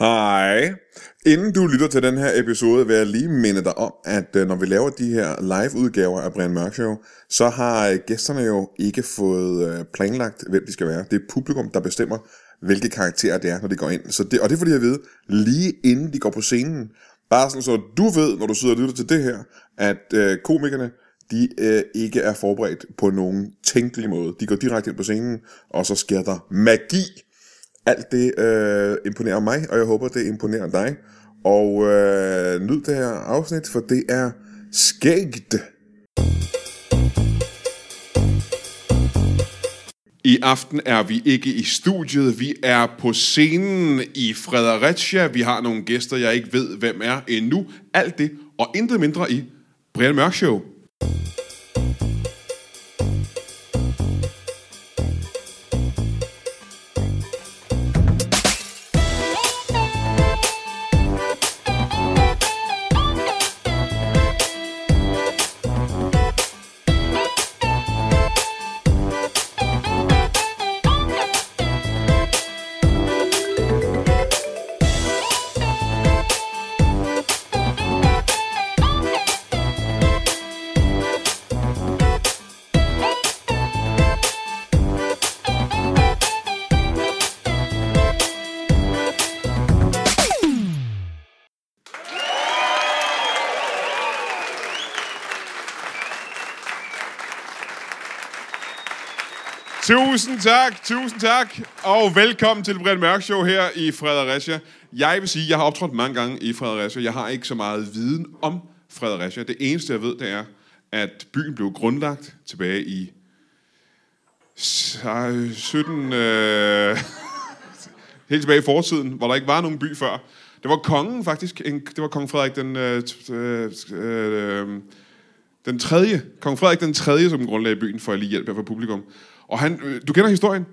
Hej. Inden du lytter til den her episode, vil jeg lige minde dig om, at øh, når vi laver de her live-udgaver af Brian Mørk Show, så har øh, gæsterne jo ikke fået øh, planlagt, hvem de skal være. Det er publikum, der bestemmer, hvilke karakterer det er, når de går ind. Så det, og det får de at vide lige inden de går på scenen. Bare sådan, så du ved, når du sidder og lytter til det her, at øh, komikerne, de øh, ikke er forberedt på nogen tænkelig måde. De går direkte ind på scenen, og så sker der magi. Alt det øh, imponerer mig, og jeg håber, det imponerer dig. Og øh, nyd det her afsnit, for det er skægt. I aften er vi ikke i studiet, vi er på scenen i Fredericia. Vi har nogle gæster, jeg ikke ved, hvem er endnu. Alt det og intet mindre i Brian Mørk Show. Tusind tak, tusind tak, og velkommen til Brian Mørk Show her i Fredericia. Jeg vil sige, at jeg har optrådt mange gange i Fredericia. Jeg har ikke så meget viden om Fredericia. Det eneste, jeg ved, det er, at byen blev grundlagt tilbage i se- 17... Øh, helt tilbage i fortiden, hvor der ikke var nogen by før. Det var kongen faktisk, en, det var kong Frederik den... Øh, t- øh, øh, den tredje, kong Frederik den tredje, som grundlagde byen for at lige hjælp her fra publikum. Og han, øh, du kender historien?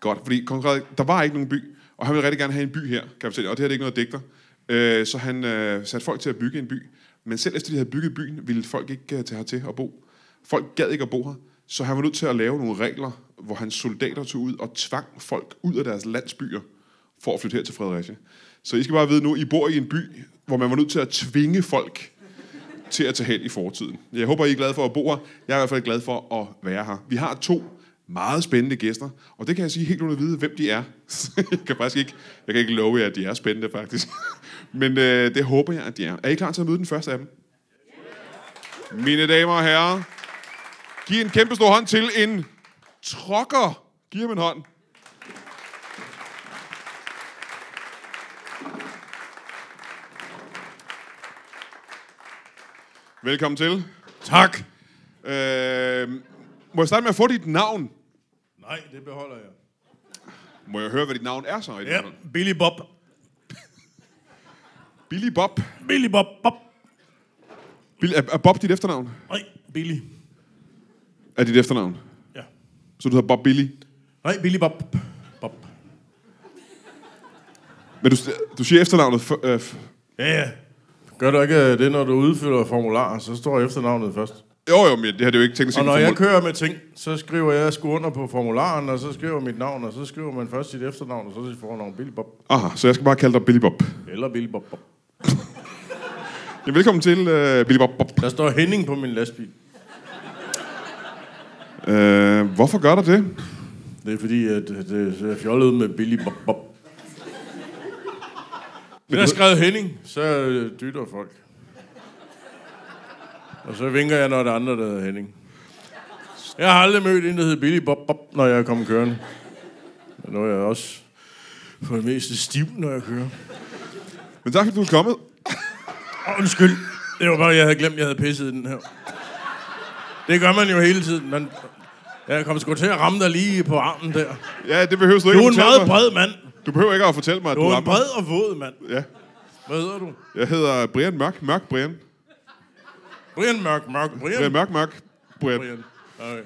Godt, fordi kong Frederik, der var ikke nogen by, og han ville rigtig gerne have en by her, kan jeg fortælle jer, og det her det er ikke noget digter. Øh, så han øh, satte folk til at bygge en by, men selv efter de havde bygget byen, ville folk ikke øh, tage hertil og bo. Folk gad ikke at bo her, så han var nødt til at lave nogle regler, hvor hans soldater tog ud og tvang folk ud af deres landsbyer for at flytte her til Fredericia. Så I skal bare vide nu, I bor i en by, hvor man var nødt til at tvinge folk til at tage hen i fortiden. Jeg håber, I er glade for at bo her. Jeg er i hvert fald glad for at være her. Vi har to meget spændende gæster, og det kan jeg sige helt uden at vide, hvem de er. Så jeg kan faktisk ikke, jeg kan ikke love jer, at de er spændende, faktisk. Men øh, det håber jeg, at de er. Er I klar til at møde den første af dem? Mine damer og herrer, giv en kæmpe stor hånd til en trokker. Giv ham en hånd. Velkommen til. Tak. Øh, må jeg starte med at få dit navn? Nej, det beholder jeg. Må jeg høre, hvad dit navn er så? I Ja, ja. Billy Bob. Billy Bob. Billy Bob, Bob. Bill, er, er Bob dit efternavn? Nej, Billy. Er dit efternavn? Ja. Så du hedder Bob Billy. Nej, Billy Bob. Bob. Men du, du siger efternavnet... For, øh, f- Ja, ja. Gør du ikke øh, det, når du udfylder formularer, så står efternavnet først. jo, jo, men det her det er jo ikke teknisk Og set når et jeg formål. kører med ting, så skriver jeg sgu under på formularen, og så skriver mit navn, og så skriver man først sit efternavn, og så sit fornavn Billy Bob. Aha, så jeg skal bare kalde dig Billy Bob. Eller Billy Bob. Bob. Ja, velkommen til øh, Billy Bob. Bob. Der står Henning på min lastbil. Øh, hvorfor gør du det? Det er fordi, at det er fjollet med Billy Bob. Bob. Hvis jeg har skrevet Henning, så øh, dytter folk. Og så vinker jeg, når der er andre, der hedder Henning. Jeg har aldrig mødt en, der hedder Billy Bob, Bob når jeg er kommet kørende. Men nu er jeg også for det meste stiv, når jeg kører. Men tak, fordi du er kommet. Åh, undskyld. Det var bare, jeg havde glemt, jeg havde pisset i den her. Det gør man jo hele tiden. Man, jeg kom sgu til at ramme dig lige på armen der. Ja, det behøver du ikke Du at er en fortælle mig. meget bred mand. Du behøver ikke at fortælle mig, at Du du, er er en bred og våd mand. Ja. Hvad hedder du? Jeg hedder Brian Mørk. Mørk Brian. Brian Mørk Mørk. Brian Brian Mørk Mørk Brian. Brian. Okay.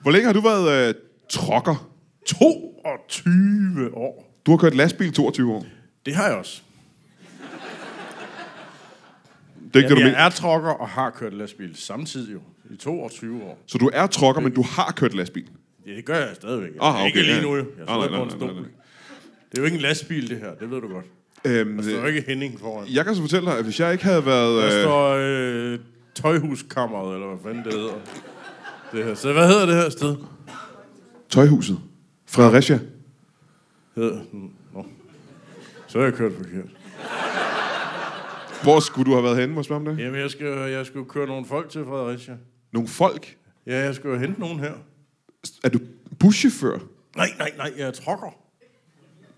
Hvor længe har du været øh, trokker? 22 år. Du har kørt lastbil i 22 år. Det har jeg også. Det er ikke det, Jamen, du mener. jeg er trokker og har kørt lastbil samtidig jo. I 22 år. Så du er trokker, men du har kørt lastbil. Ja, det gør jeg stadigvæk. Aha, Ah, okay, ikke lige ja. nu jo. Jeg Ah, nej, sidder på nej, en nej, nej, stol. Det er jo ikke en lastbil det her, det ved Altså, du godt. Øhm, Der er jo ikke Henning foran. jeg kan så fortælle dig, at hvis jeg ikke havde været... Der Øh, står øh, tøjhuskammeret, eller hvad fanden det hedder. Det her. Så hvad hedder det her sted? tøjhuset. Fredericia. Hedder... Nå. Så har jeg kørt forkert. Hvor skulle du have været henne, må jeg spørge om det? Jamen, jeg skal, jeg skal jo køre nogle folk til Fredericia. Nogle folk? Ja, jeg skal jo hente nogen her. Er du buschauffør? Nej, nej, nej, jeg er trokker.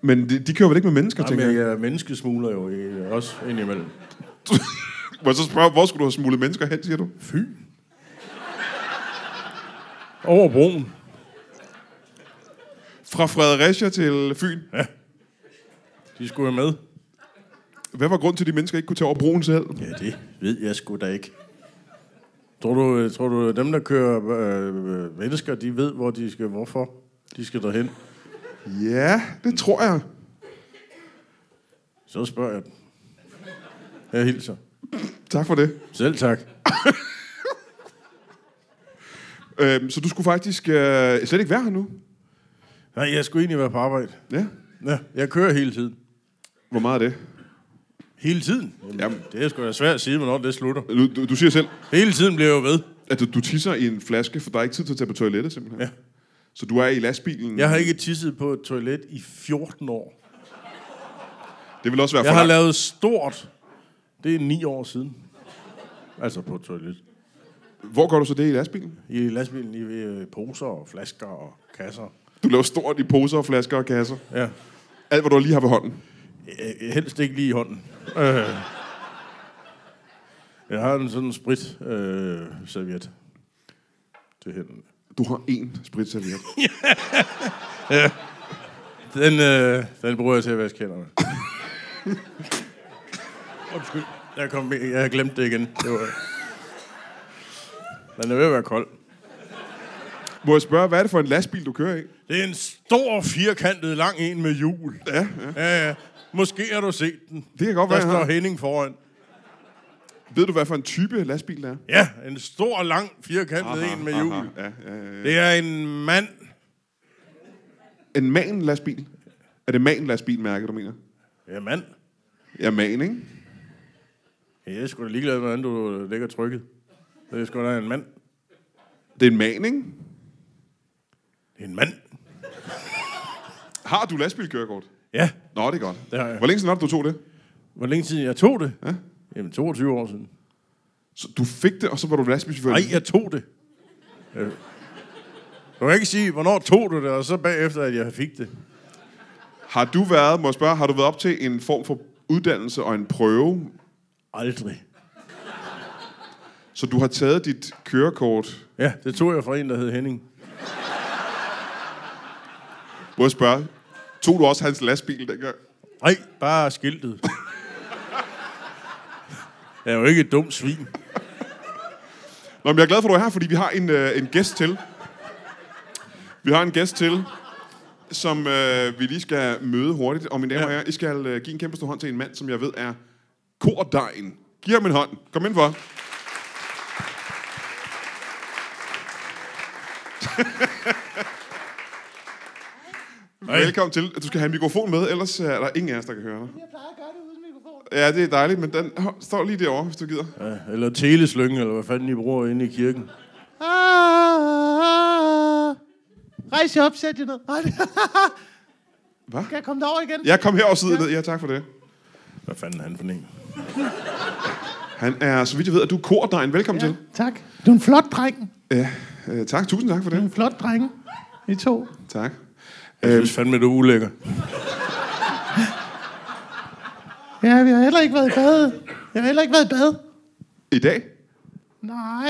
Men de, de kører vel ikke med mennesker, tænker Jamen, jeg. jeg er menneskesmugler jo ikke? også indimellem. Må jeg så spørge, hvor skulle du have smuglet mennesker hen, siger du? Fyn. Over broen. Fra Fredericia til Fyn. De skulle jo med. Hvad var grunden til, at de mennesker ikke kunne tage over broen selv? Ja, det ved jeg sgu da ikke. Tror du, øh, tror du dem, der kører øh, øh, mennesker, de ved, hvor de skal, hvorfor de skal derhen? Ja, det tror jeg. Så spørger jeg dem. Jeg hilser. Tak for det. Selv tak. Øhm, så du skulle faktisk øh, slet ikke være her nu? Nej, jeg skulle egentlig være på arbejde. Ja. Ja, jeg kører hele tiden. Hvor meget er det? Hele tiden? Jamen, Jamen. Det er sgu da svært at sige, hvornår det slutter. Du, du, du siger selv, Hele tiden bliver jeg jo ved. at du, du tisser i en flaske, for der er ikke tid til at tage på toilettet simpelthen. Ja. Så du er i lastbilen. Jeg har ikke tisset på et toilet i 14 år. Det vil også være Jeg for har langt. lavet stort. Det er ni år siden. Altså på et toilet. Hvor går du så det i lastbilen? I lastbilen i øh, poser og flasker og kasser. Du laver stort i poser og flasker og kasser. Ja. Alt, hvad du lige har ved hånden. Øh, Helst ikke lige i hånden. Øh. Jeg har en sådan sprit øh, serviet til hænderne. Du har én spritserviet. Den, øh, den bruger jeg til at vaske hænderne. Undskyld. Jeg, kom, jeg har glemt det igen. Det var... Den er ved at være kold. Må jeg spørge, hvad er det for en lastbil, du kører i? Det er en stor, firkantet, lang en med hjul. Ja, ja. ja, ja. Måske har du set den. Det kan godt Der være, jeg står har. Henning foran. Ved du, hvad for en type lastbil det er? Ja, en stor, lang, firkantet aha, en med hjul. Aha, ja, ja, ja, ja. Det er en mand. En man lastbil? Er det man lastbil mærke du mener? Ja, mand. Ja, man, ikke? Ja, jeg er sgu da ligeglad, med, hvordan du lægger trykket. Det er sgu da en mand. Det er en man, ikke? Det er en mand. Har du lastbilkørekort? Ja. Nå, det er godt. Det har jeg. Hvor længe siden var det, du tog det? Hvor længe siden jeg tog det? Ja? Jamen, 22 år siden. Så du fik det, og så var du lastbilchauffør? Nej, jeg tog det. Øh. Du kan ikke sige, hvornår tog du det, og så bagefter, at jeg fik det. Har du været, må jeg spørge, har du været op til en form for uddannelse og en prøve, Aldrig. så du har taget dit kørekort? Ja, det tog jeg fra en, der hed Henning. Må jeg spørge, tog du også hans lastbil dengang? Nej, bare skiltet. jeg er jo ikke et dumt svin. Nå, men jeg er glad for, at du er her, fordi vi har en, øh, en gæst til. Vi har en gæst til, som øh, vi lige skal møde hurtigt. Og mine damer og Ja. herrer, I skal øh, give en kæmpe stor hånd til en mand, som jeg ved er kordejen. Giv ham en hånd. Kom ind for. Velkommen til. Du skal have en mikrofon med, ellers øh, er der ingen af os, der kan høre dig. Jeg plejer at gøre det uden mikrofon. Ja, det er dejligt, men den hov, står lige derovre, hvis du gider. Ja, eller teleslyngen, eller hvad fanden I bruger inde i kirken. Ah, rejs jer op, sæt jer ned. Ej, Hvad? Kan jeg komme derover igen? Ja, kom her og sidde ned. Ja, tak for det. Hvad fanden er han for en? Han er, så vidt jeg ved, at du er kordejen. Velkommen ja. til. Tak. Du er en flot dreng. Ja, øh, tak. Tusind tak for Du er det. en flot dreng. I to. Tak. Jeg Øhm. synes fandme, du er ulækker. Ja, vi har heller ikke været i bad. Jeg har heller ikke været i bad. I dag? Nej.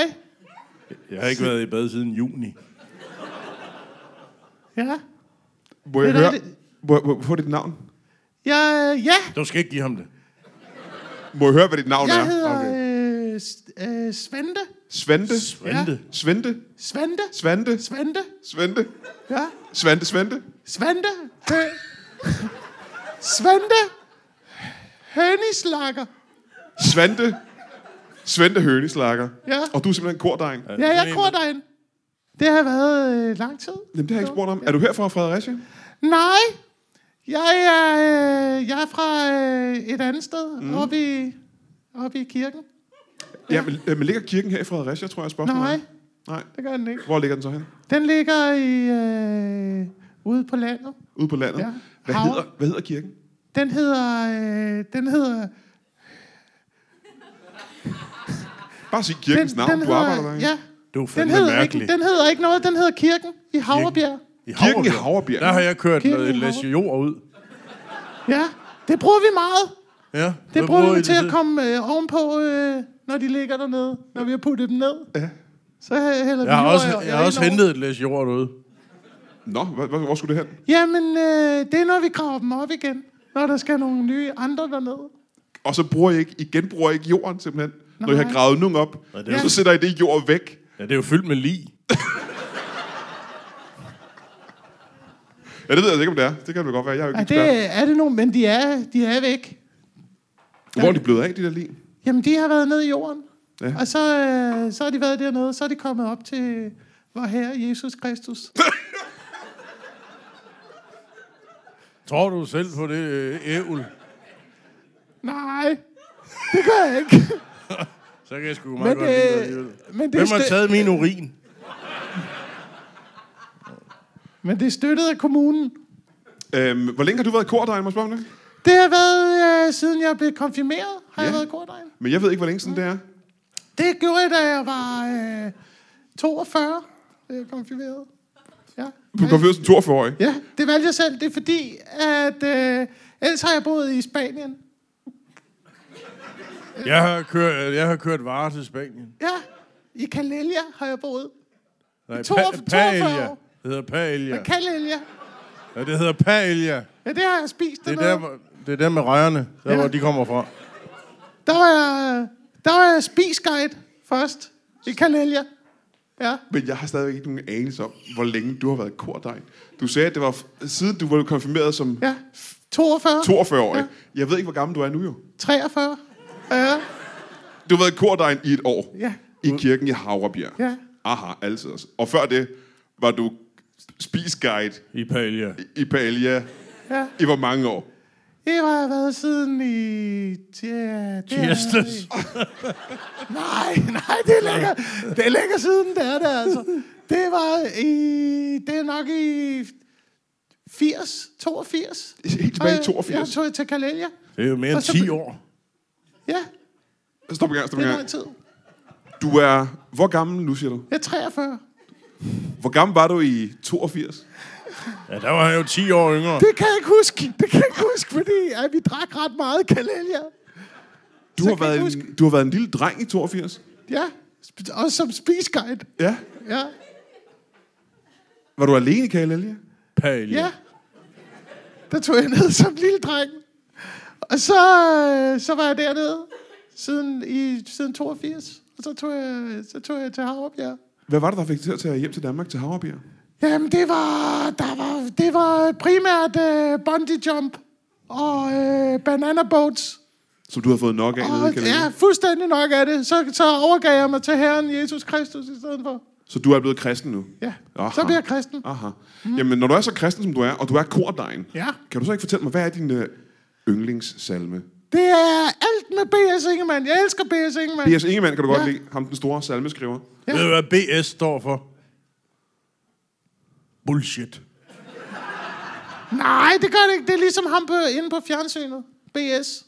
Jeg har ikke været i bad siden juni. Ja. Må jeg Det er høre... rigtigt. Må, må, må, dit navn? Ja, ja. Du skal ikke give ham det. Må jeg høre, hvad dit navn Jeg er? hedder øh, S- øh, Svente. Svante. Svante. Svante. Svante. Svante. Svante. Svante. Ja. Svante. Svante. Svante. Hø. Svante. Hønislakker. Svante. Svante Høneslakker. Ja. Og du er simpelthen kordejen. Ja. Ja, jeg en, tror dig ind. Det har været øh, lang tid. Jamen, det har jeg ikke spurgt om. Er du her fra Fredericia? Nej, Jeg er, øh, jeg er fra øh, et andet sted, mm. oppe, i, oppe i kirken. Ja, men, øh, men ligger kirken her i Fredericia, tror jeg, spørgsmålet er? Nej, Nej. det gør den ikke. Hvor ligger den så hen? Den ligger i, øh, ude på landet. Ude på landet? Ja. Ja. Hvad, Hav- hedder, hvad hedder kirken? Den hedder, øh, den hedder... Bare sig Den, kirkens den, navn, den den du hedder, arbejder derinde. Ja, Det var den fandme hedder, ikke, mærkeligt. den hedder ikke noget, den hedder kirken i Havrebjerg. I Kirken i Havrebjerg. Der har jeg kørt Kirken noget et i læs jord ud. Ja, det bruger vi meget. Ja, Det hvad bruger vi I til det at komme øh, ovenpå, øh, når de ligger dernede. Når vi har puttet dem ned. Ja. Så øh, hælder Jeg vi har jord også, og- jeg har også indover. hentet et læs jord ud. Nå, hvor, hvor, hvor skulle det hen? Jamen, øh, det er, når vi graver dem op igen. Når der skal nogle nye andre derned. Og så bruger I ikke, I genbruger ikke jorden simpelthen. Nej. Når I har gravet nogen op, det er så sætter I det jord væk. Ja, det er jo fyldt med lig. Ja, det ved jeg altså ikke, om det er. Det kan det godt være. Jeg er jo ikke Ja, ekspert. det er det nogle, men de er, de er væk. Hvor er de blevet af, de der lige? Jamen, de har været nede i jorden. Ja. Ja. Og så, øh, så har de været dernede, så er de kommet op til hvor herre Jesus Kristus. Tror du selv på det øh, ævl? Nej, det gør jeg ikke. Så kan jeg sgu meget Men, godt lide det. alligevel. øh, men, det er Hvem har stø- taget min urin? men det er støttet af kommunen. Øhm, hvor længe har du været i kordegn, må jeg spørge om det? Det har været, øh, siden jeg blev konfirmeret, har ja. jeg Ja. været kordegn. Men jeg ved ikke, hvor længe siden det er. Det gjorde jeg, da jeg var øh, 42, da jeg konfirmeret. Ja. Du kom først som 42-årig. ja, det valgte jeg selv. Det er fordi, at øh, ellers har jeg boet i Spanien. Jeg har kørt, øh, jeg har kørt varer til Spanien. Ja, i Kalelia har jeg boet. Nej, To- pa- 42 paella. år. Det hedder paella. Kalelia. Ja, det hedder paella. Ja, det har jeg spist. Det er dernede. der, hvor- det er der med rejerne, der Ja. hvor de kommer fra. Der var jeg, der var jeg spisguide først i Kalelia. Ja. Men jeg har stadigvæk ikke nogen anelse om, hvor længe du har været i kordegn. Du sagde, at det var f- siden du var konfirmeret som ja. 42. 42-årig. Ja. Jeg ved ikke, hvor gammel du er nu jo. 43. Ja. Du har været i kordegn i et år. Ja. I kirken i Havrebjerg. Ja. Aha, altid også. Og før det var du spisguide I paella. i Palia Ja. i hvor mange år? Det har jeg været siden i... Ja, det er- Tirsdags. Nej, nej, det er længere, det er længere siden, det er det altså. Det var i... Det er nok i 80, 82. Helt tilbage i Øh, Jeg 82. tog jeg til Kalelia. Det er jo mere end Og så- 10 år. Ja, Stop en gang, stop det en er gang. lang tid. Du er... Hvor gammel nu, siger du? Jeg er 43. Hvor gammel var du i 82? Ja, der var jeg jo 10 år yngre. Det kan jeg ikke huske. Det kan jeg ikke huske, fordi at vi drak ret meget kalelia. Du Så har, kan jeg været huske. en, du har været en lille dreng i 82. Ja, sp- også som spisguide. Ja. Ja, Var du alene, Kalelia? Paella. ja. Der tog jeg ned som lille dreng. Og så, øh, så var jeg dernede siden, i, siden 82. Og så tog jeg, så tog jeg til Havrebjerg. Hvad var det, der fik dig til at tage hjem til Danmark, til Havrebjerg? Jamen, det var, der var, det var primært øh, bungee jump og øh, banana boats. Som du har fået nok af nede i Og, Kalelia? ja, fuldstændig nok af det. Så, så overgav jeg mig til Herren Jesus Kristus i stedet for. Så du er blevet kristen nu? Ja, Aha. så bliver jeg kristen. Aha. Mm. Jamen, når du er så kristen, som du er, og du er kordegn, Ja. kan du så ikke fortælle mig, hvad er din øh, yndlingssalme? Det er alt med B.S. Ingemann. Jeg elsker B.S. Ingemann. B.S. Ingemann kan du godt Ja. lide, ham den store salmeskriver. Ved du, hvad BS står for? Bullshit. Nej, det gør det ikke. Det er ligesom ham på, inde på fjernsynet. B.S.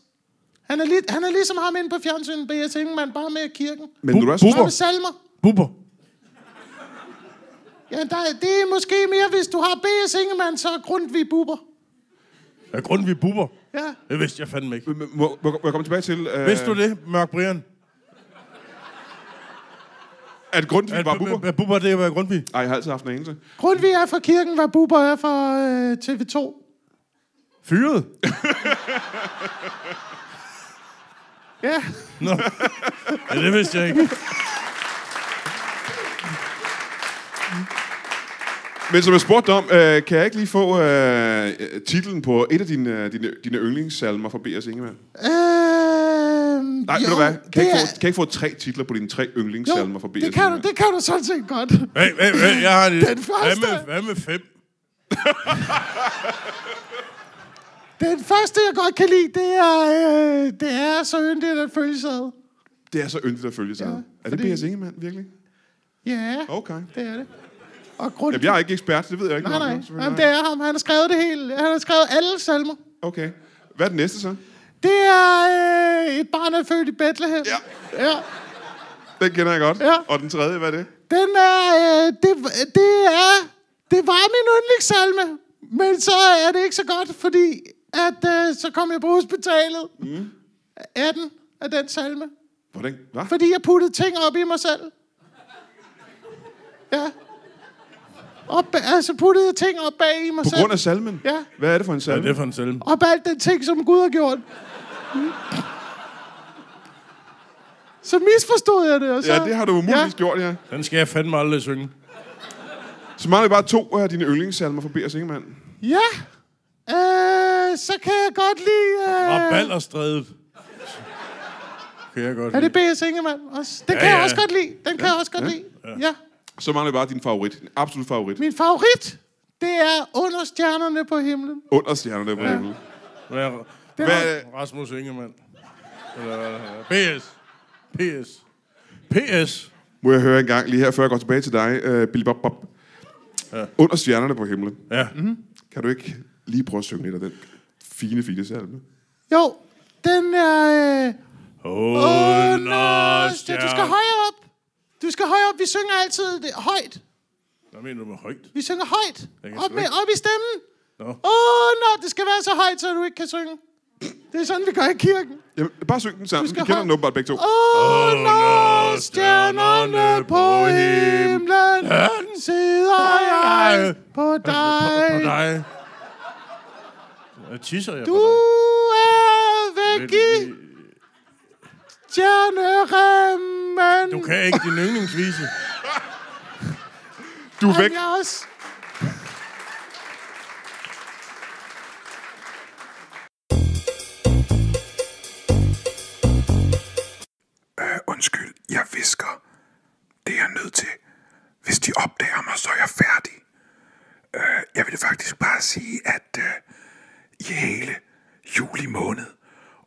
Han er, lig, han er ligesom ham inde på fjernsynet, B.S. Ingemann, bare med i kirken. Men Bu- når du er så... Bare Bubber. med salmer. Bubber. Ja, der, er- det er måske mere, hvis du har B.S. Ingemann, så er Grundtvig buber. Hvad grunden, vi bubber? Ja. Det vidste jeg fandme ikke. Men- men Øhm, Må, må, må jeg komme tilbage til, øh, Vidste du det, Mørk Brian? at Grundtvig At var bu- buber? bu- bubber, det var Grundtvig. Ej, jeg har altid haft en anelse. Grundtvig er fra kirken, hvad buber er fra øh, TV2. Fyret? Ja, Nå. Ja, det vidste jeg ikke. Men som jeg spurgte dig om, øh, kan jeg ikke lige få øh, øh, titlen på et af dine, øh, dine, dine yndlingssalmer fra B.S. Ingemann? øh, Nej, jo, ved du hvad? Kan jeg, det ikke er- få, kan jeg ikke få tre titler på dine tre yndlingssalmer fra Jo, B.S. det kan, Ingemann? du, det kan du sådan set godt. Hey, hey, hey, jeg har det. Den første. Hvad med, hvad med fem? Den første, jeg godt kan lide, det er, øh, det er så yndigt at følge sig. Det er så yndigt at følge sig. Ja, Ja, er fordi- det B.S. Ingemann, virkelig? Ja, Okay. det er det. Og grund... Jamen, jeg er ikke ekspert, det ved jeg ikke. Nej, noget om, nej. jo, selvfølgelig. Jamen, det er ham. Han har skrevet det hele. Han har skrevet alle salmer. Okay. Hvad er det næste så? Det er øh, et barn, der er født i Bethlehem. Ja. ja. Den kender jeg godt. Ja. Og den tredje, hvad er det? Den er, øh, det, det er, det var min yndlingssalme. Men så er det ikke så godt, fordi at, øh, så kom jeg på hospitalet. Mm. 18 af den salme. Hvordan? Hvad? Fordi jeg puttede ting op i mig selv. Ja. Op, altså puttede jeg ting op bag i mig På selv. grund af salmen? Ja. Hvad er det for en Hvad er salme? det for en salme? Op alt den ting, som Gud har gjort. Mm. Så misforstod jeg det. Og så, Ja, det har du umuligvis ja. gjort, ja. Den skal jeg fandme aldrig synge. Så mangler vi bare to af dine yndlingssalmer fra B.S. Ingemann. Ja. Øh, så kan jeg godt lide... Og Øh, Ballerstræde. Kan jeg godt er det lide. B.S. Ingemann også? Den ja, kan Ja, jeg ja. også godt lide. Den ja, kan jeg også godt ja, lide. Ja. ja. Så mangler vi bare din favorit. Din absolut favorit. Min favorit, det er Under stjernerne på himlen. Under stjernerne på ja. himlen. Hvad er, Hvad, Rasmus Ingemann. Eller, hvad- PS. PS. PS. må jeg høre en gang lige her, før jeg går tilbage til dig, uh, Billy Bob Bob. Ja. Under stjernerne på himlen. Ja. Mhm. Mm-hmm. Kan du ikke lige prøve at synge lidt af den fine, fine salme? Jo, den er... Øh, under stjernerne. Du skal højere op. Du skal højere op. Vi synger altid det, højt. Hvad mener du med højt? Vi synger højt. kan Op, sgu med, ikke. op i stemmen. Nå. Åh, nej, det skal være så højt, så du ikke kan synge. Det er sådan, vi gør i kirken. Jamen, bare syng den sammen. Vi skal kender have- den åbenbart begge to. Under stjernerne på himlen sidder jeg på På dig. dig. Jeg tisser jeg Du er væk på dig. i stjerneremmen. Du kan ikke din yndlingsvise. Du er væk. Jeg også. Øh, undskyld, jeg visker. Det er jeg nødt til. Hvis de opdager mig, så er jeg færdig. Øh, jeg vil faktisk bare sige, at øh, i hele juli måned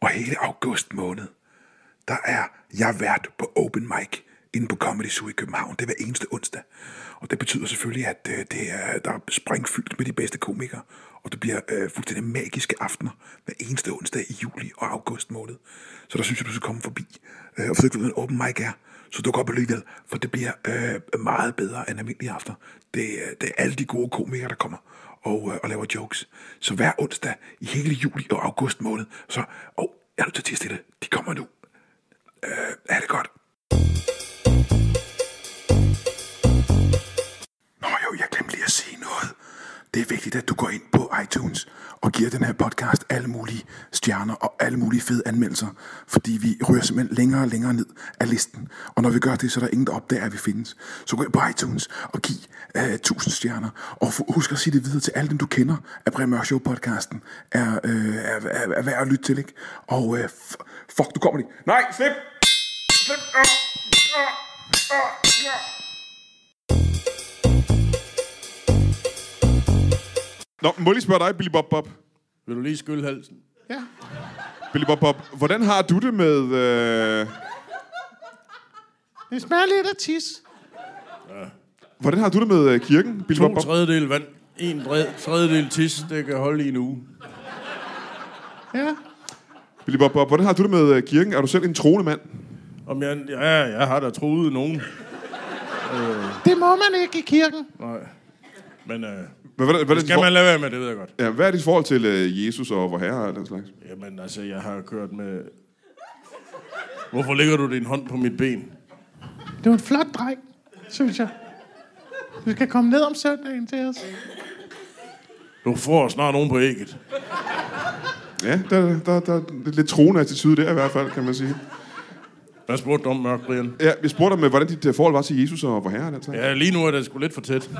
og hele august måned, der er jeg vært på Open Mic inde på Comedy Zoo i København. Det er hver eneste onsdag. Og det betyder selvfølgelig, at øh, det er, der er springfyldt med de bedste komikere. Og det bliver øh, fuldstændig magiske aftener hver eneste onsdag i juli og august måned. Så der synes jeg, du skal komme forbi. Øh, og hvis du ikke ved, hvad en open mic er, så du op alligevel, for det bliver øh, meget bedre end almindelige aftener. Det, øh, det er alle de gode komikere, der kommer og, øh, og laver jokes. Så hver onsdag i hele juli og august måned, så... Åh, oh, jeg er nødt til at tisse stille. De kommer nu. Er det godt? Nå jo, jeg glemte lige at sige noget. Det er vigtigt, at du går ind på iTunes og giver den her podcast alle mulige stjerner og alle mulige fede anmeldelser, fordi vi ryger simpelthen længere og længere ned af listen. Og når vi gør det, så er der ingen, der opdager, at vi findes. Så gå ind på iTunes og giv øh, 1000 stjerner, og fu- husk at sige det videre til alle dem, du kender, at Brian Mørk Show-podcasten er, øh, er, er, er værd at lytte til, ikke? Og øh, f- fuck, du kommer lige. Nej, slip! Slip! Ah, ah, ah, ah. Nå, må jeg lige spørge dig, Billy Bob Bob. Vil du lige skylle halsen? Ja. Billy Bob Bob, hvordan har du det med... Øh, Det smager lidt af tis. hvordan har du det med øh, kirken, Billy Bob To Bob? tredjedel vand. En bred, tredjedel tis, det kan holde i en uge. Ja. Billy Bob Bob, hvordan har du det med øh, kirken? Er du selv en troende mand? Om jeg, ja, jeg har da troet nogen. Det må man ikke i kirken. Nej. Men øh, Hvad, hvad, hvad, er det dit skal for- man lade være med, det ved jeg godt. ja, hvad er dit forhold til øh, Jesus og vor herre og den slags? Jamen altså, jeg har kørt med... Hvorfor lægger du din hånd på mit ben? Du er en flot dreng, synes jeg. Du skal komme ned om søndagen til os. Du får snart nogen på ægget. Ja, der, der, der er lidt troende attitude der i hvert fald, kan man sige. Hvad spurgte du om, Mørk Brian? Ja, jeg spurgte dig, med, hvordan dit øh, forhold var til Jesus og vor herre og den slags. Ja. Ja, lige nu er det sgu lidt for tæt.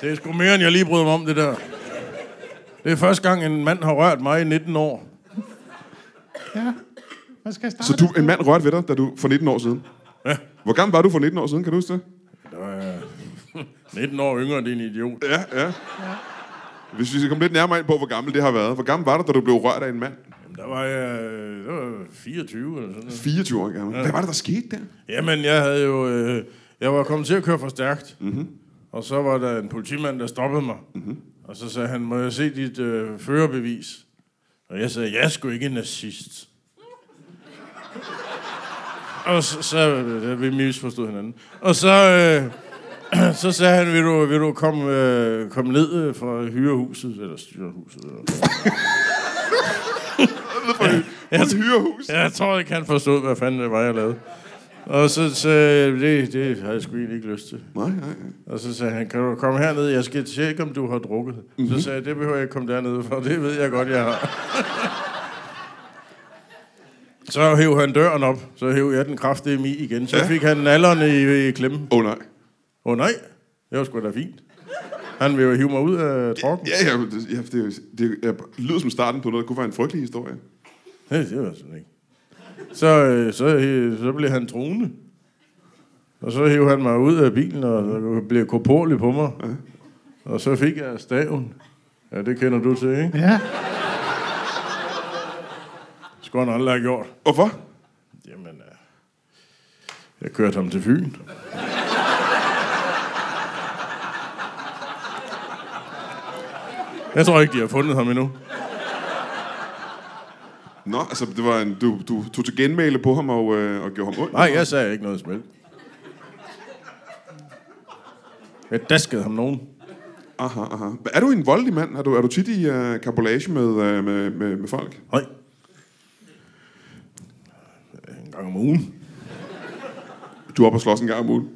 Det er sgu mere, end jeg lige bryder mig om, det der. Det er første gang, en mand har rørt mig i 19 år. Ja. Man skal starte. Så du, en mand rørte ved dig, da du for 19 år siden? Ja. Hvor gammel var du for 19 år siden, kan du huske det? Det var, øh, 19 år yngre, det er en idiot. Ja, ja. Hvis vi skal komme lidt nærmere ind på, hvor gammel det har været. Hvor gammel var du, da du blev rørt af en mand? Jamen, der var jeg øh, der var 24 eller sådan noget. 24 år gammel. Hvad var det, der skete der? Jamen, jeg havde jo... Øh, jeg var kommet til at køre for stærkt. Mm-hmm. Og så var der en politimand, der stoppede mig. Mm-hmm. Og så sagde han, må jeg se dit øh, førerbevis? Og jeg sagde, jeg er sgu ikke en nazist. og så, så øh, vi misforstod hinanden. Og så, øh, så sagde han, vil du, vil du komme, øh, komme ned øh, fra hyrehuset? Eller styrehuset? Eller. Ja, et hyrehus. Jeg tror ikke, han forstod, hvad fanden det var, jeg lavede. Og så, så det, det havde jeg sgu egentlig ikke lyst til. Nej, nej, nej. Og så sagde han, kan du komme herned? Jeg skal tjekke, om du har drukket. Mm-hmm. Så sagde jeg, det behøver jeg ikke komme dernede for, det ved jeg godt, jeg har. så hæv han døren op, så hæv jeg den kraftige mi igen. Så Ja. ja. fik han nallerne i, i klemme. Åh, oh, nej. Åh oh, nej, det var sgu da fint. Han ville jo hive mig ud af trokken. Ja, ja, det, ja, det, det, det lyder som starten på noget, der kunne være en frygtelig historie. Nej, det var sådan ikke. Så, øh, så, øh, så blev han truende. Og så hævde han mig ud af bilen, og så blev korporlig på mig. Og så fik jeg staven. Ja, det kender du til, ikke? Ja. Skulle han aldrig have gjort. Hvorfor? Jamen, øh, jeg kørte ham til Fyn. Jeg tror ikke, de har fundet ham endnu. Nå, altså, det var en, du, du tog til genmæle på ham og, øh, og gjorde ham ondt. Nej, jeg sagde ikke noget smelt. Jeg daskede ham nogen. Aha, aha. Er du en voldelig mand? Er du, er du tit i øh, kapolage med, øh, med, med, med folk? Nej. En gang om ugen. Du er oppe og slås en gang om ugen.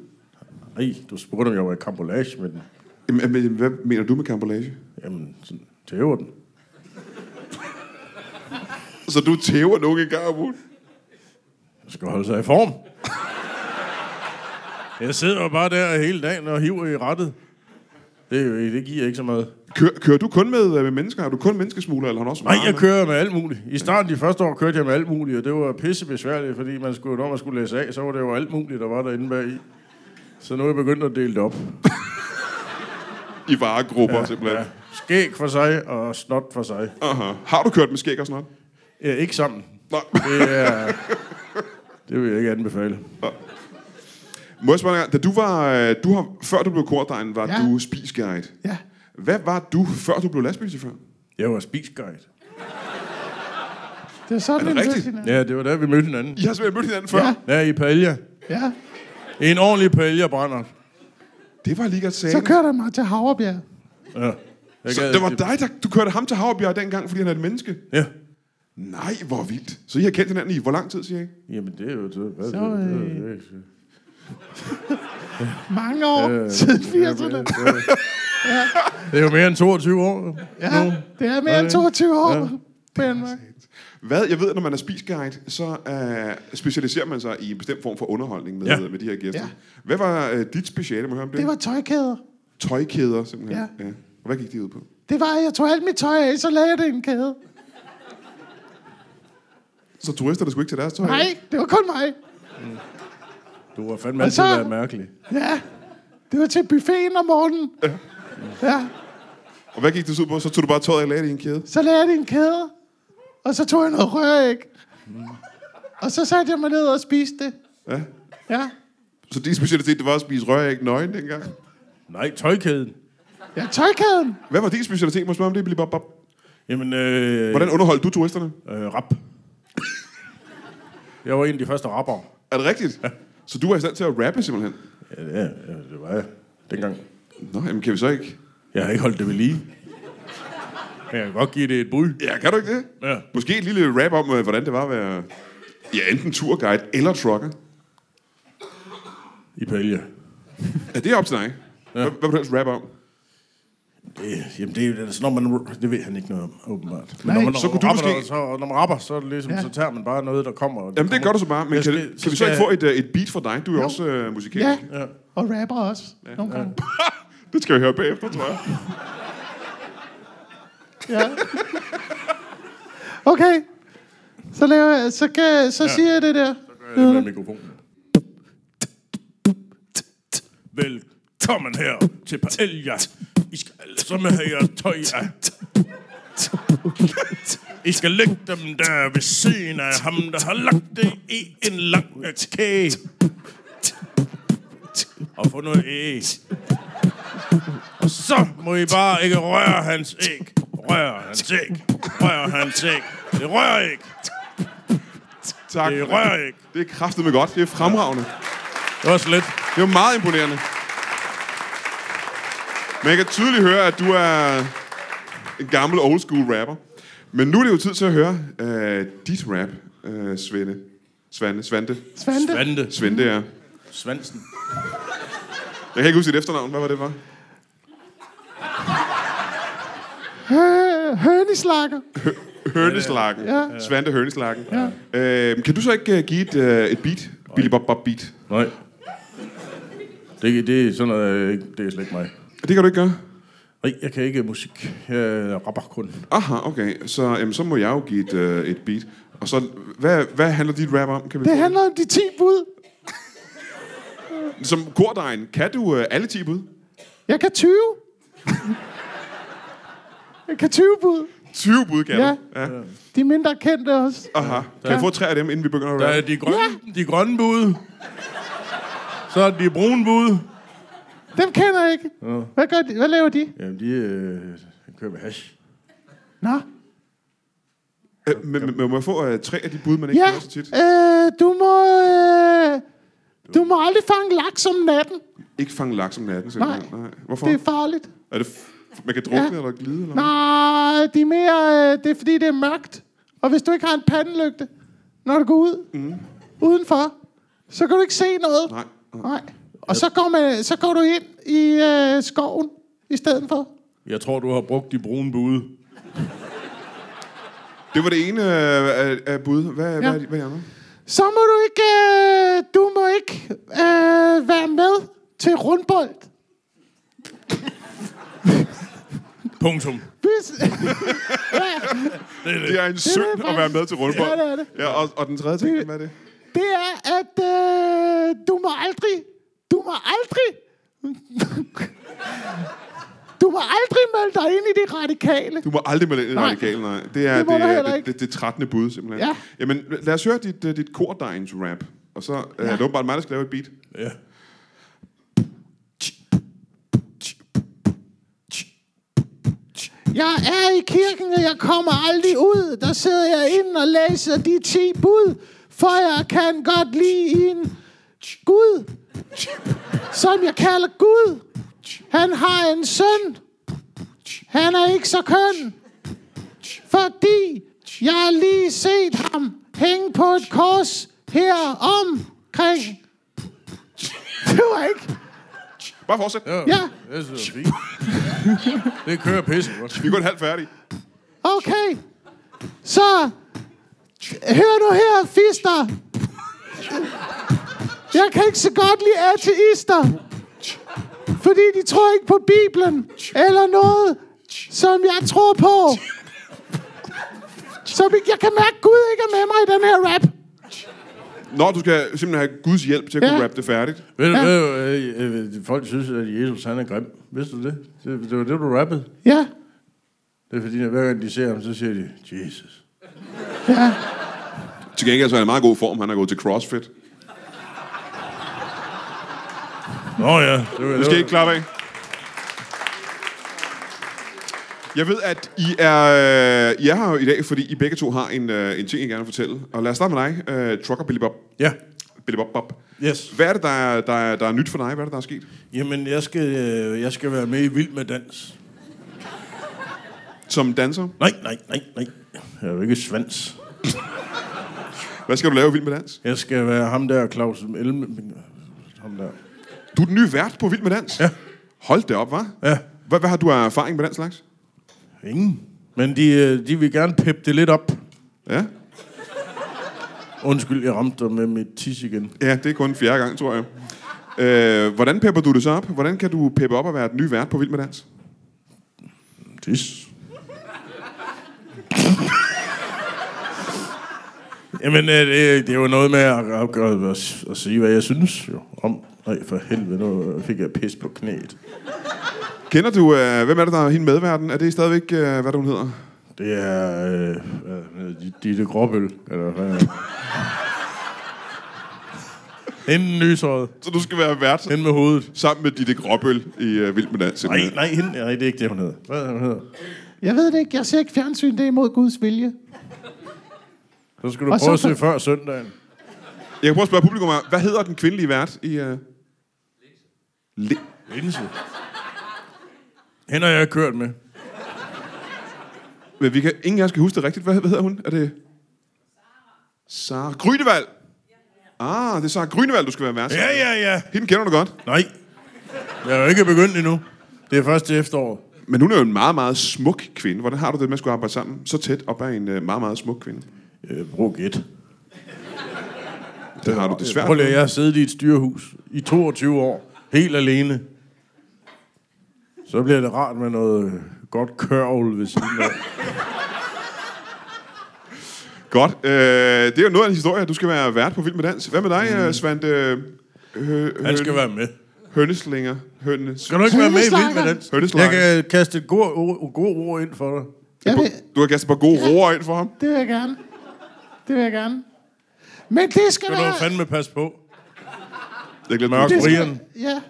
Nej, du spurgte, om jeg var i kambolage med den. Jamen, men hvad mener du med kapolage? Jamen, sådan tæver den. Så du tæver nogen en gang om ugen? Jeg skal holde sig i form. Jeg sidder jo bare der hele dagen og hiver i rettet. Det, er jo ikke- det giver ikke så meget. Kør, kører du kun med, øh, med mennesker? Er du kun menneskesmugler, eller har du også Nej, varer jeg med? kører med alt muligt. I starten de første år kørte jeg med alt muligt, og det var pissebesværligt, fordi man skulle, når man skulle læse af, så var det jo alt muligt, der var derinde bag i. Så nu er jeg begyndt at dele det op. I varegrupper, ja, simpelthen. Ja. Ja. Skæg for sig og snot for sig. Aha. Har du kørt med skæg og sådan noget? Ja, ikke sammen. Nej. Det, er, det vil jeg ikke anbefale. Må jeg spørge dig, en gang? da du var, øh, du har, før du blev kordegn, var ja. Ja. du spisguide. Ja. Hvad var du, før du blev lastbilchauffør? Jeg var spisguide. Det er sådan, Er det vi mødte rigtigt? hinanden. Ja, det var der, vi mødte hinanden. I har simpelthen mødt hinanden før. Ja. Ja. Ja, i Palja. Ja. En ordentlig Palja brænder. Det var lige godt sagen. Så kørte han mig til Havrebjerg. Ja. Jeg Så gad det var ikke- dig, der du kørte ham til Havbjerg dengang, fordi han er et menneske? Ja. Nej, hvor vildt. Så I har kendt hinanden i hvor lang tid, siger jeg? Jamen, det er jo... Det, hvad, Så, det, det, det, øh, det, det, det, Mange år Øh, siden det er 80'erne. mere- det er jo mere end 22 år. Ja, det er mere end 22 år. Ja. Ja. Danmark. Hvad? Jeg ved, at når man er spisguide, så uh, specialiserer man sig i en bestemt form for underholdning med, ja. Ja. med de her gæster. Ja. Ja. Hvad var uh, dit speciale, må jeg høre om det? Det var tøjkæder. tøjkæder, simpelthen. Ja. Ja. ja. Og hvad gik de ud på? Det var, at jeg tog alt mit tøj af, så lagde jeg det i en kæde. Så turisterne skulle ikke tage deres tøj? af? Nej, det var kun mig. Du har fandme altid så- været mærkelig. Ja, det var til buffeten om morgenen. Ja, Og hvad gik det så ud på? Så tog du bare tøjet af og lagde det i en kæde? så lagde jeg det i en kæde. Og så tog jeg noget røræg. Og så satte jeg mig ned og spiste det. Ja. Ja, Så din specialitet, det var at spise røræg nøgen dengang? Nej, tøjkæden. ja tøjkæden. Hvad var din specialitet? Må jeg spørge om det? Billy Bob Bob? Jamen, øh, Hvordan underholdt du turisterne? øh, rap. Jeg var en af de første rappere. Er det rigtigt? Ja. Så du var i stand til at rappe, simpelthen? Ja, det, er- ja, det var jeg dengang. Nå, jamen kan vi så ikke? Jeg har ikke holdt det ved lige. Men jeg kan godt give det et bud. Ja, kan du ikke det? Ja. Måske et lille rap om, øh, hvordan det var at være ja, enten turguide eller trucker. I Palja. Ja, det er op til dig. Hvad, hvad vil du helst rap om? Det, jamen, det er jo det, er sådan, når man... Det ved han ikke noget om, åbenbart. Men Nej. når man, Så kunne du rapper, måske- Så, når man rapper, så, er det ligesom, Ja. så tager man bare noget, der kommer. og Jamen, det gør kommer. du så bare, men Jeg kan, skal- kan vi så ikke skal jeg- få et, øh, et beat fra dig? Du er jo også øh, musikalsk. Ja, og rapper også nogle gange. Det skal vi høre bagefter, tror jeg. Ja. Okay, så, laver jeg, så, kan, så siger jeg det der. Ja, det er med mikrofonen. Velkommen Velkommen her til Paella. I skal alle sammen have jeres tøj af. I skal lægge dem der ved siden af ham, der har lagt det i en lang kage. Og få noget æg. Og så må I bare ikke røre hans æg. Rør hans æg. Rør hans æg. Det rører ikke. Tak. Det rører ikke. Det er kraftedeme godt. Det er fremragende. Det var så lidt. Det var meget imponerende. Men jeg kan tydeligt høre, at du er en gammel old school rapper. Men nu er det jo tid til at høre øh, dit rap, øh, Svende. Svande, Svante. Svante. Svante. Svende, ja. Svansen. Jeg kan ikke huske dit efternavn. Hvad var det var? Hø- Hønislakker. Hørneslakken. Ja. Svante Hørneslakken. Ja. Øh, kan du så ikke øh, give et, øh, et beat? Billy Bob Bob beat. Nej. Det, det er sådan noget, øh, ikke- det er slet ikke mig. Det kan du ikke gøre? Nej, jeg kan ikke musik. Jeg rapper kun. Aha, okay. Så, jamen, så må jeg jo give et, øh, et beat. Og så, hvad, hvad handler dit rap om? Kan vi Det få handler om de 10 bud. Som kordejen, kan du øh, alle 10 bud? Jeg kan 20. Jeg kan 20 bud. 20 bud, kan Ja. du? Ja. De er mindre kendte også. Aha. Kan jeg få tre af dem, inden vi begynder at Der er rappe? de grønne, de grønne bud. Så er de brune bud. Dem kender jeg ikke. Hvad, gør de? Hvad laver de? Jamen, de øh, kører med hash. Nå. Øh, men, men, men må jeg få øh, tre af de bud, man ikke Ja, hører så tit? øh, du må... Øh, du må aldrig fange laks om natten. Ikke fange laks om natten, simpelthen. Nej. Hvorfor? Det Det er farligt. er det f- man kan drukne ja. eller glide? Eller? hvad? Mm. Nej, de er mere... Øh, det er fordi, det er mørkt. Og hvis du ikke har en pandelygte, når du går ud mm. udenfor, så kan du ikke se noget. Nej. Nej. Og så går, man, så går du ind i øh, skoven i stedet for. Jeg tror, du har brugt de brune bud. Det var det ene øh, af, af bud. Hvad, ja. hvad, er de- hvad er de andre? Så må du ikke, øh, du må ikke øh, være med til rundbold. Punktum. Hvis, ja, Det er en synd at faktisk- være med til rundbold. Ja, det er det. Ja, og, og den tredje ting, hvad er det? det er, at øh, du må aldrig, du må aldrig, du må aldrig melde dig ind i de radikale. Du må aldrig melde ind i Nej. radikale, nej. Det er det, Det må det, øh, du heller det, det, ikke. det, 13. bud, simpelthen. Ja. Jamen, lad os høre dit, øh, dit kordegns rap. Og så ja. er det åbenbart mig, der skal lave et beat. Ja. Jeg er i kirken, og jeg kommer aldrig ud. Der sidder jeg ind og læser de 10 bud, for jeg kan godt lide en Gud, som jeg kalder Gud. Han har en søn. Han er ikke så køn, fordi jeg har lige set ham hænge på et kors her omkring. Det var ikke... Bare fortsæt. Ja. Ja, Det synes jeg er fint. Det kører pisse godt. Vi er kun halvt færdige. Okay. Så hør nu her, fister. Jeg kan ikke så godt lide ateister. Fordi de tror ikke på Bibelen eller noget, som jeg tror på. Så vi- jeg kan mærke, at Gud ikke er med mig i den her rap. Nå, du skal simpelthen have Guds hjælp til at kunne Ja. rappe det færdigt. Ved du, ved du, øh, øh, folk synes, at Jesus han er grim. Vidste du det? Det, det var det, du rappede. Ja, Det er fordi, at hver gang de ser ham, så siger de, Jesus. Til gengæld så er han i meget god form. Han har gået til CrossFit. Nå ja, det var Du skal ikke klappe af. Jeg ved, at I er, øh, I er her i dag, fordi I begge to har en, øh, en ting, I gerne vil fortælle. Og lad os starte med dig, uh, Trucker Billy Bob. Ja. Billy Bob Bob. Yes. Hvad er det, der er, der, er, der er nyt for dig? Hvad er det, der er sket? Jamen, jeg skal, øh, jeg skal være med i Vild med Dans. Som danser, Nej, nej, nej, nej. Jeg er jo ikke svans. hvad skal du lave i Vild med Dans? Jeg skal være ham der, Claus Elm... Ham der. Du er den nye vært på Vild med Dans? Ja. Hold det op, hva'? Ja. Hvad, hvad har du af erfaring med den slags? Ingen. Men de, øh, de vil gerne peppe det lidt op. Ja? Undskyld, jeg ramte dig med mit tis igen. Ja, det er kun fjerde gang, tror jeg. Øh, hvordan pepper du det så op? Hvordan kan du peppe op og være den nye vært på Vild med Dans? Tis. Jamen, øh, det, det er jo noget med at, at, at, at, at sige, hvad jeg synes jo, om Nej, for helvede, nu fik jeg pis på knæet. Kender du, øh, hvem er det, der er hende medverden? Er det stadigvæk, øh, hvad er det, hun hedder? Det er... Øh, hvad hedder de- Ditte Gråbøl, eller hvad er det? Hende nysåret. Så du skal være vært Hende med hovedet. sammen med Ditte Gråbøl i øh, Vild med Dans. Nej, nej, hende, nej, det er ikke det, hun hedder. Hvad er det, hun hedder? Jeg ved det ikke. Jeg ser ikke fjernsyn. Det er imod Guds vilje. Så skal du Og så- prøve at se før søndagen. Jeg kan prøve at spørge publikum her. Hvad hedder den kvindelige vært i... Øh... Le- Linse. Hende har jeg kørt med. Men vi kan, ingen af os kan huske det rigtigt. Hvad, hvad hedder hun? Er det... Sara Grynevald. Ah, det er Sara Grynevald, du skal være vært. Ja, ja, ja. Hende kender du godt. Nej. Jeg er jo ikke begyndt endnu. Det er først til efteråret. Men hun er jo en meget, meget smuk kvinde. Hvordan har du det med at skulle arbejde sammen så tæt op af en øh, meget, meget smuk kvinde? Øh, brug et. Det har du det svært Prøv lige, med. jeg har siddet i et styrehus i 22 år, helt alene. Så bliver det rart med noget øh, godt kørvel ved siden af. Godt. Øh, det er jo noget af en historie. Du skal være vært på Vild med Dans. Hvad med dig, mm. Svante? Øh, hø- Han skal høne- være med. Høneslinger. Hønes. Kan du ikke være med i Vild Høndeslanger. med dans? Jeg Høndeslanger. kan kaste et god, ord- god ord ind for dig. Jeg vil, Du har kastet et par gode roer ind for ham. det vil jeg gerne. Det vil jeg gerne. Men det skal Det kan være... du fandme passe på. Jeg glæder Mørk mig. det Brian. skal, ja,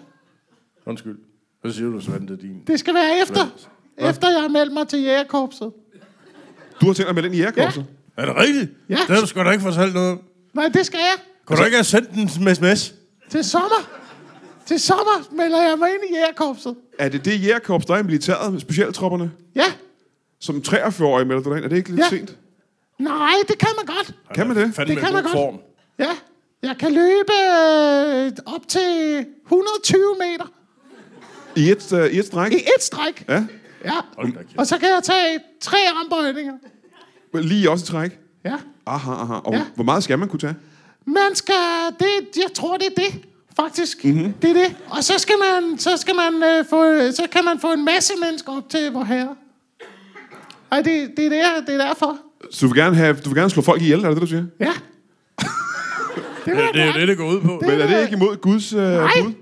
Undskyld. Hvad siger du, Svante, din? det skal være efter. Efter jeg har meldt mig til jægerkorpset. Du har tænkt dig at melde ind i jægerkorpset. Er det rigtigt? Altså- Ja. Det har du sgu da ikke fortalt noget om. Nej, det skal jeg. Kunne du ikke have sendt en sms? Til sommer. Til sommer melder jeg mig ind i jægerkorpset. Er det det jægerkorps, der er i militæret med specialtropperne? Ja. Som 43-årig melder du dig ind. Er det ikke lidt ja. Ja. sent? Nej, det kan man godt. Kan man det? Fandme Det kan god man godt. form. Ja. Jeg kan løbe øh, op til 120 meter I et, uh, i et stræk? i et stræk. Ja. Ja. Hold da kæft. Og så kan jeg tage tre armbøjninger. Lige også et træk? Ja. Aha, aha. Og ja. Ja. hvor meget skal man kunne tage? Man skal... Det, jeg tror, det er det. Faktisk. Mhm. Mm-hmm. Det er det. Og så skal man, så skal man øh, få, så kan man få en masse mennesker op til vor herre. Ej, det, det, er der, det er derfor. Så du vil gerne, have, du vil gerne slå folk ihjel, er det det, du siger? Ja. det vil Ja, jeg det er jo gerne. det, det går ud på. Men er det ikke imod Guds uh, Nej. bud?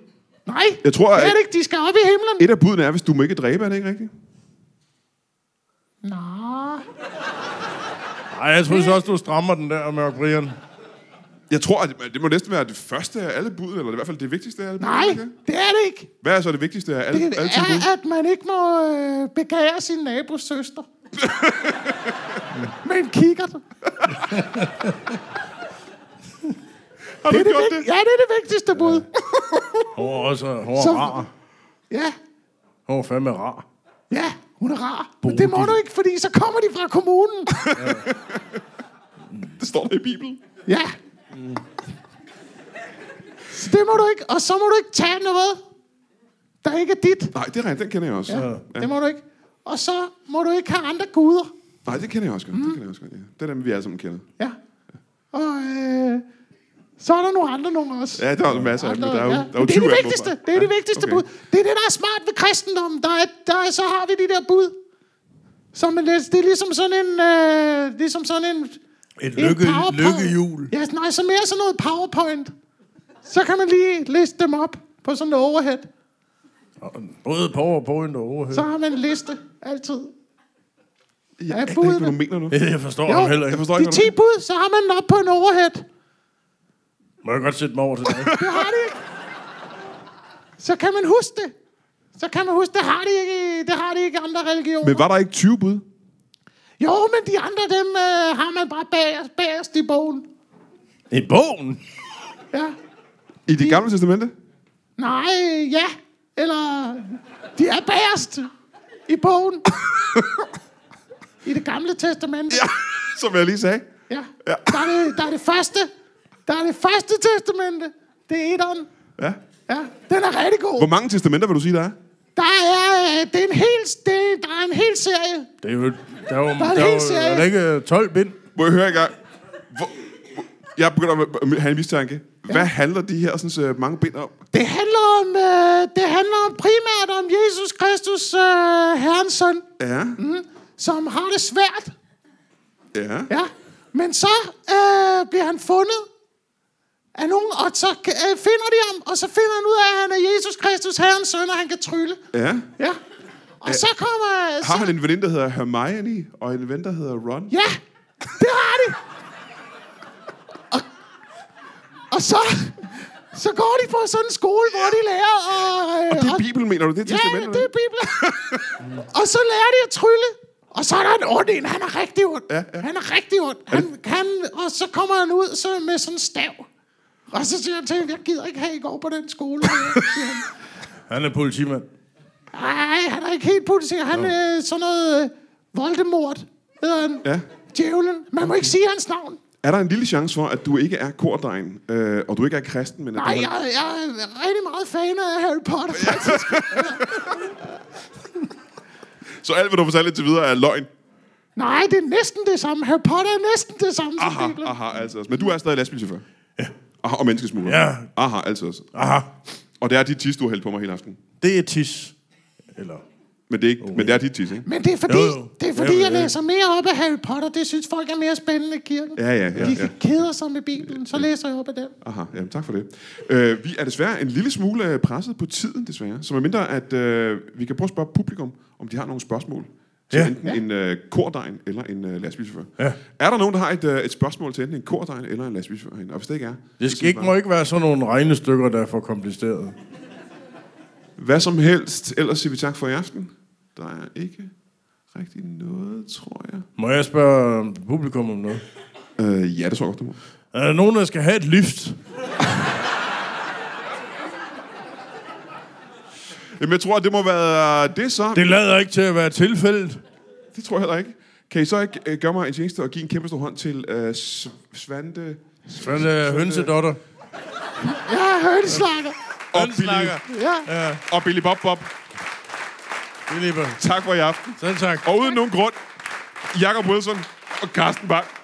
Nej, Jeg tror, det er at- det ikke. De skal op i himlen. Et af budene er, hvis du må ikke dræbe, er det ikke rigtigt? Nå. Nej, jeg tror så også, du strammer den der, Mørk Brian. Jeg tror, at det må næsten være det første af alle bud, eller i hvert fald det vigtigste af alle bud. Nej, er det ikke det? det er det ikke. Hvad er så det vigtigste af alle, Det det alle ti bud? er, at man ikke må øh, begære sin nabos søster. Men kigger det. Har du Det er det, gjort vigt- det? ja, det er det vigtigste bud. Hun er også hun er Så- rar. Ja, Hun er fandme rar. ja, hun er rar. Men det må du ikke, fordi så kommer de fra kommunen. Det står der i Bibelen. Ja. Så det må du ikke. Og så må du ikke tage noget, der ikke er dit. Nej, det er rigtigt. Den kender jeg også. Ja. Det må du ikke. Og så må du ikke have andre guder. Nej, det kender jeg også godt. Mhm. Det kender jeg også godt, ja. Det er dem, vi alle sammen kender. Ja. Og øh, så er der nogle andre nogen også. Ja, der er jo masser af dem. men Der er jo, ja. der er jo Men det er 20 af det dem, vigtigste. åbenbart. Det er det Ja, vigtigste okay. bud. Det er det, der er smart ved kristendommen. Der er, der er, så har vi de der bud. Som en, det er ligesom sådan en... Øh, ligesom sådan en Et en lykke, PowerPoint. lykkehjul. Ja, nej, så mere sådan noget powerpoint. Så kan man lige liste dem op på sådan en overhead. Både powerpoint og overhead. Så har man en liste altid. Jeg Ja, aner ikke, hvad budene. du mener nu. Jeg forstår jo. ham heller Jeg ikke. forstår De ikke, 10 hvad du... bud, så har man den op på en overhead. Må jeg godt sætte mig over til dig? Det har de ikke. Så kan man huske det. Så kan man huske, det har de ikke, i- det har de ikke i andre religioner. Men var der ikke 20 bud? Jo, men de andre, dem øh, har man bare bagerst, bagerst i bogen. I bogen? Ja. I det gamle testamente? Nej, ja. Eller, de er bagerst i bogen. I det gamle testamente. Ja. Som jeg lige sagde. ja. Der, er det, der er det første. Der er det første testamente. Det er etteren. Ja. Ja, den er rigtig god. Hvor mange testamenter vil du sige, der er? Der er, øh, det er en hel, det, der er en hel serie. Det er jo... Der er jo, er en der er, hel jo, serie. er der ikke øh, 12 bind? Må jeg høre i gang? Hvor... hvor- Jeg begynder at have en mistanke. Hvad handler de her sådan, så mange bind om? Det handler om, øh, det handler om primært om Jesus Kristus, øh, Herrens søn, Ja. Mhm. som har det svært. Ja. Ja. Men så øh, bliver han fundet af nogen, og så øh, finder de ham, og så finder han ud af, at han er Jesus Kristus, herrens søn, og han kan trylle. Ja. Ja. Og så kommer... øh, Så, Øh, Har han en veninde, der hedder Hermione, og en ven, der hedder Ron? Ja, det har de. Og, og så, så går de på sådan en skole, hvor de lærer at... Øh, Og det er at- Bibelen, mener du? Det er Ja, testamentet? det er Bibelen. og så lærer de at trylle. Og så er der en ond en. Han er rigtig ond. Ja, ja. Han er rigtig ond. Han, han, og så kommer han ud så med sådan en stav. Og så siger han til hende, jeg gider ikke have, I går på den skole. siger han. Han er politimand. Nej, han er ikke helt politiker. Han er øh, sådan noget øh, Voldemort. Hedder han. Ja. Djævlen. Man må ikke sige hans navn. Er der en lille chance for, at du ikke er kordegn, øh, og du ikke er kristen, men at Nej, du jeg, jeg er rigtig meget fan af Harry Potter, faktisk. Så alt, hvad du fortalte til videre, er løgn. Nej, det er næsten det samme. Harry Potter er næsten det samme som Aha, Bibelen. aha, altså også. Men du er stadig lastbilchauffør? Ja. Aha, og menneskesmugler? Ja. Aha, altså også. Aha, Og det er dit tis, du har hældt på mig hele aftenen. det er tis. Eller... Men det er, ikke, men det er dit tis, ikke? Men det er fordi, Jo, jo. Det er fordi Ja, jeg ja. læser mere op af Harry Potter. Det synes folk er mere spændende i kirken. Ja, ja, ja, De ja. keder sig med Bibelen, så læser jeg op af den. Aha, jamen, tak for det. Øh, vi er desværre en lille smule øh, presset på tiden, desværre. Så medmindre, at øh, vi kan prøve at spørge publikum, om de har nogle spørgsmål til ja. Ja. enten ja. en øh, kordegn eller en øh, lastbilchauffør. Ja. Er der nogen, der har et, øh, et spørgsmål til enten en kordegn eller en lastbilchauffør herinde? Og hvis det ikke er, Det så skal ikke, bare- må ikke være sådan nogle regnestykker, der er for komplicerede. Hvad som helst. Ellers siger vi tak for i aften. Der er ikke rigtig noget, tror jeg. Må jeg spørge publikum om noget? Øh, ja, det tror jeg godt, du må. Er der nogen, der skal have et lift? Jamen, jeg tror, at det må være det så. Det, Det lader ikke til at være tilfældet. det tror jeg heller ikke. Kan I så ikke øh, gøre mig en tjeneste og give en kæmpe stor hånd til øh, S- Svante Sådan er øh, hønsedotter. Ja, hønslakker. og Billy, Hønseslakker. Ja. og Billy Bob Bob? Det er lige bare- Tak for i aften. Selv tak. Og uden nogen grund, Jakob Wilson og Carsten Bang.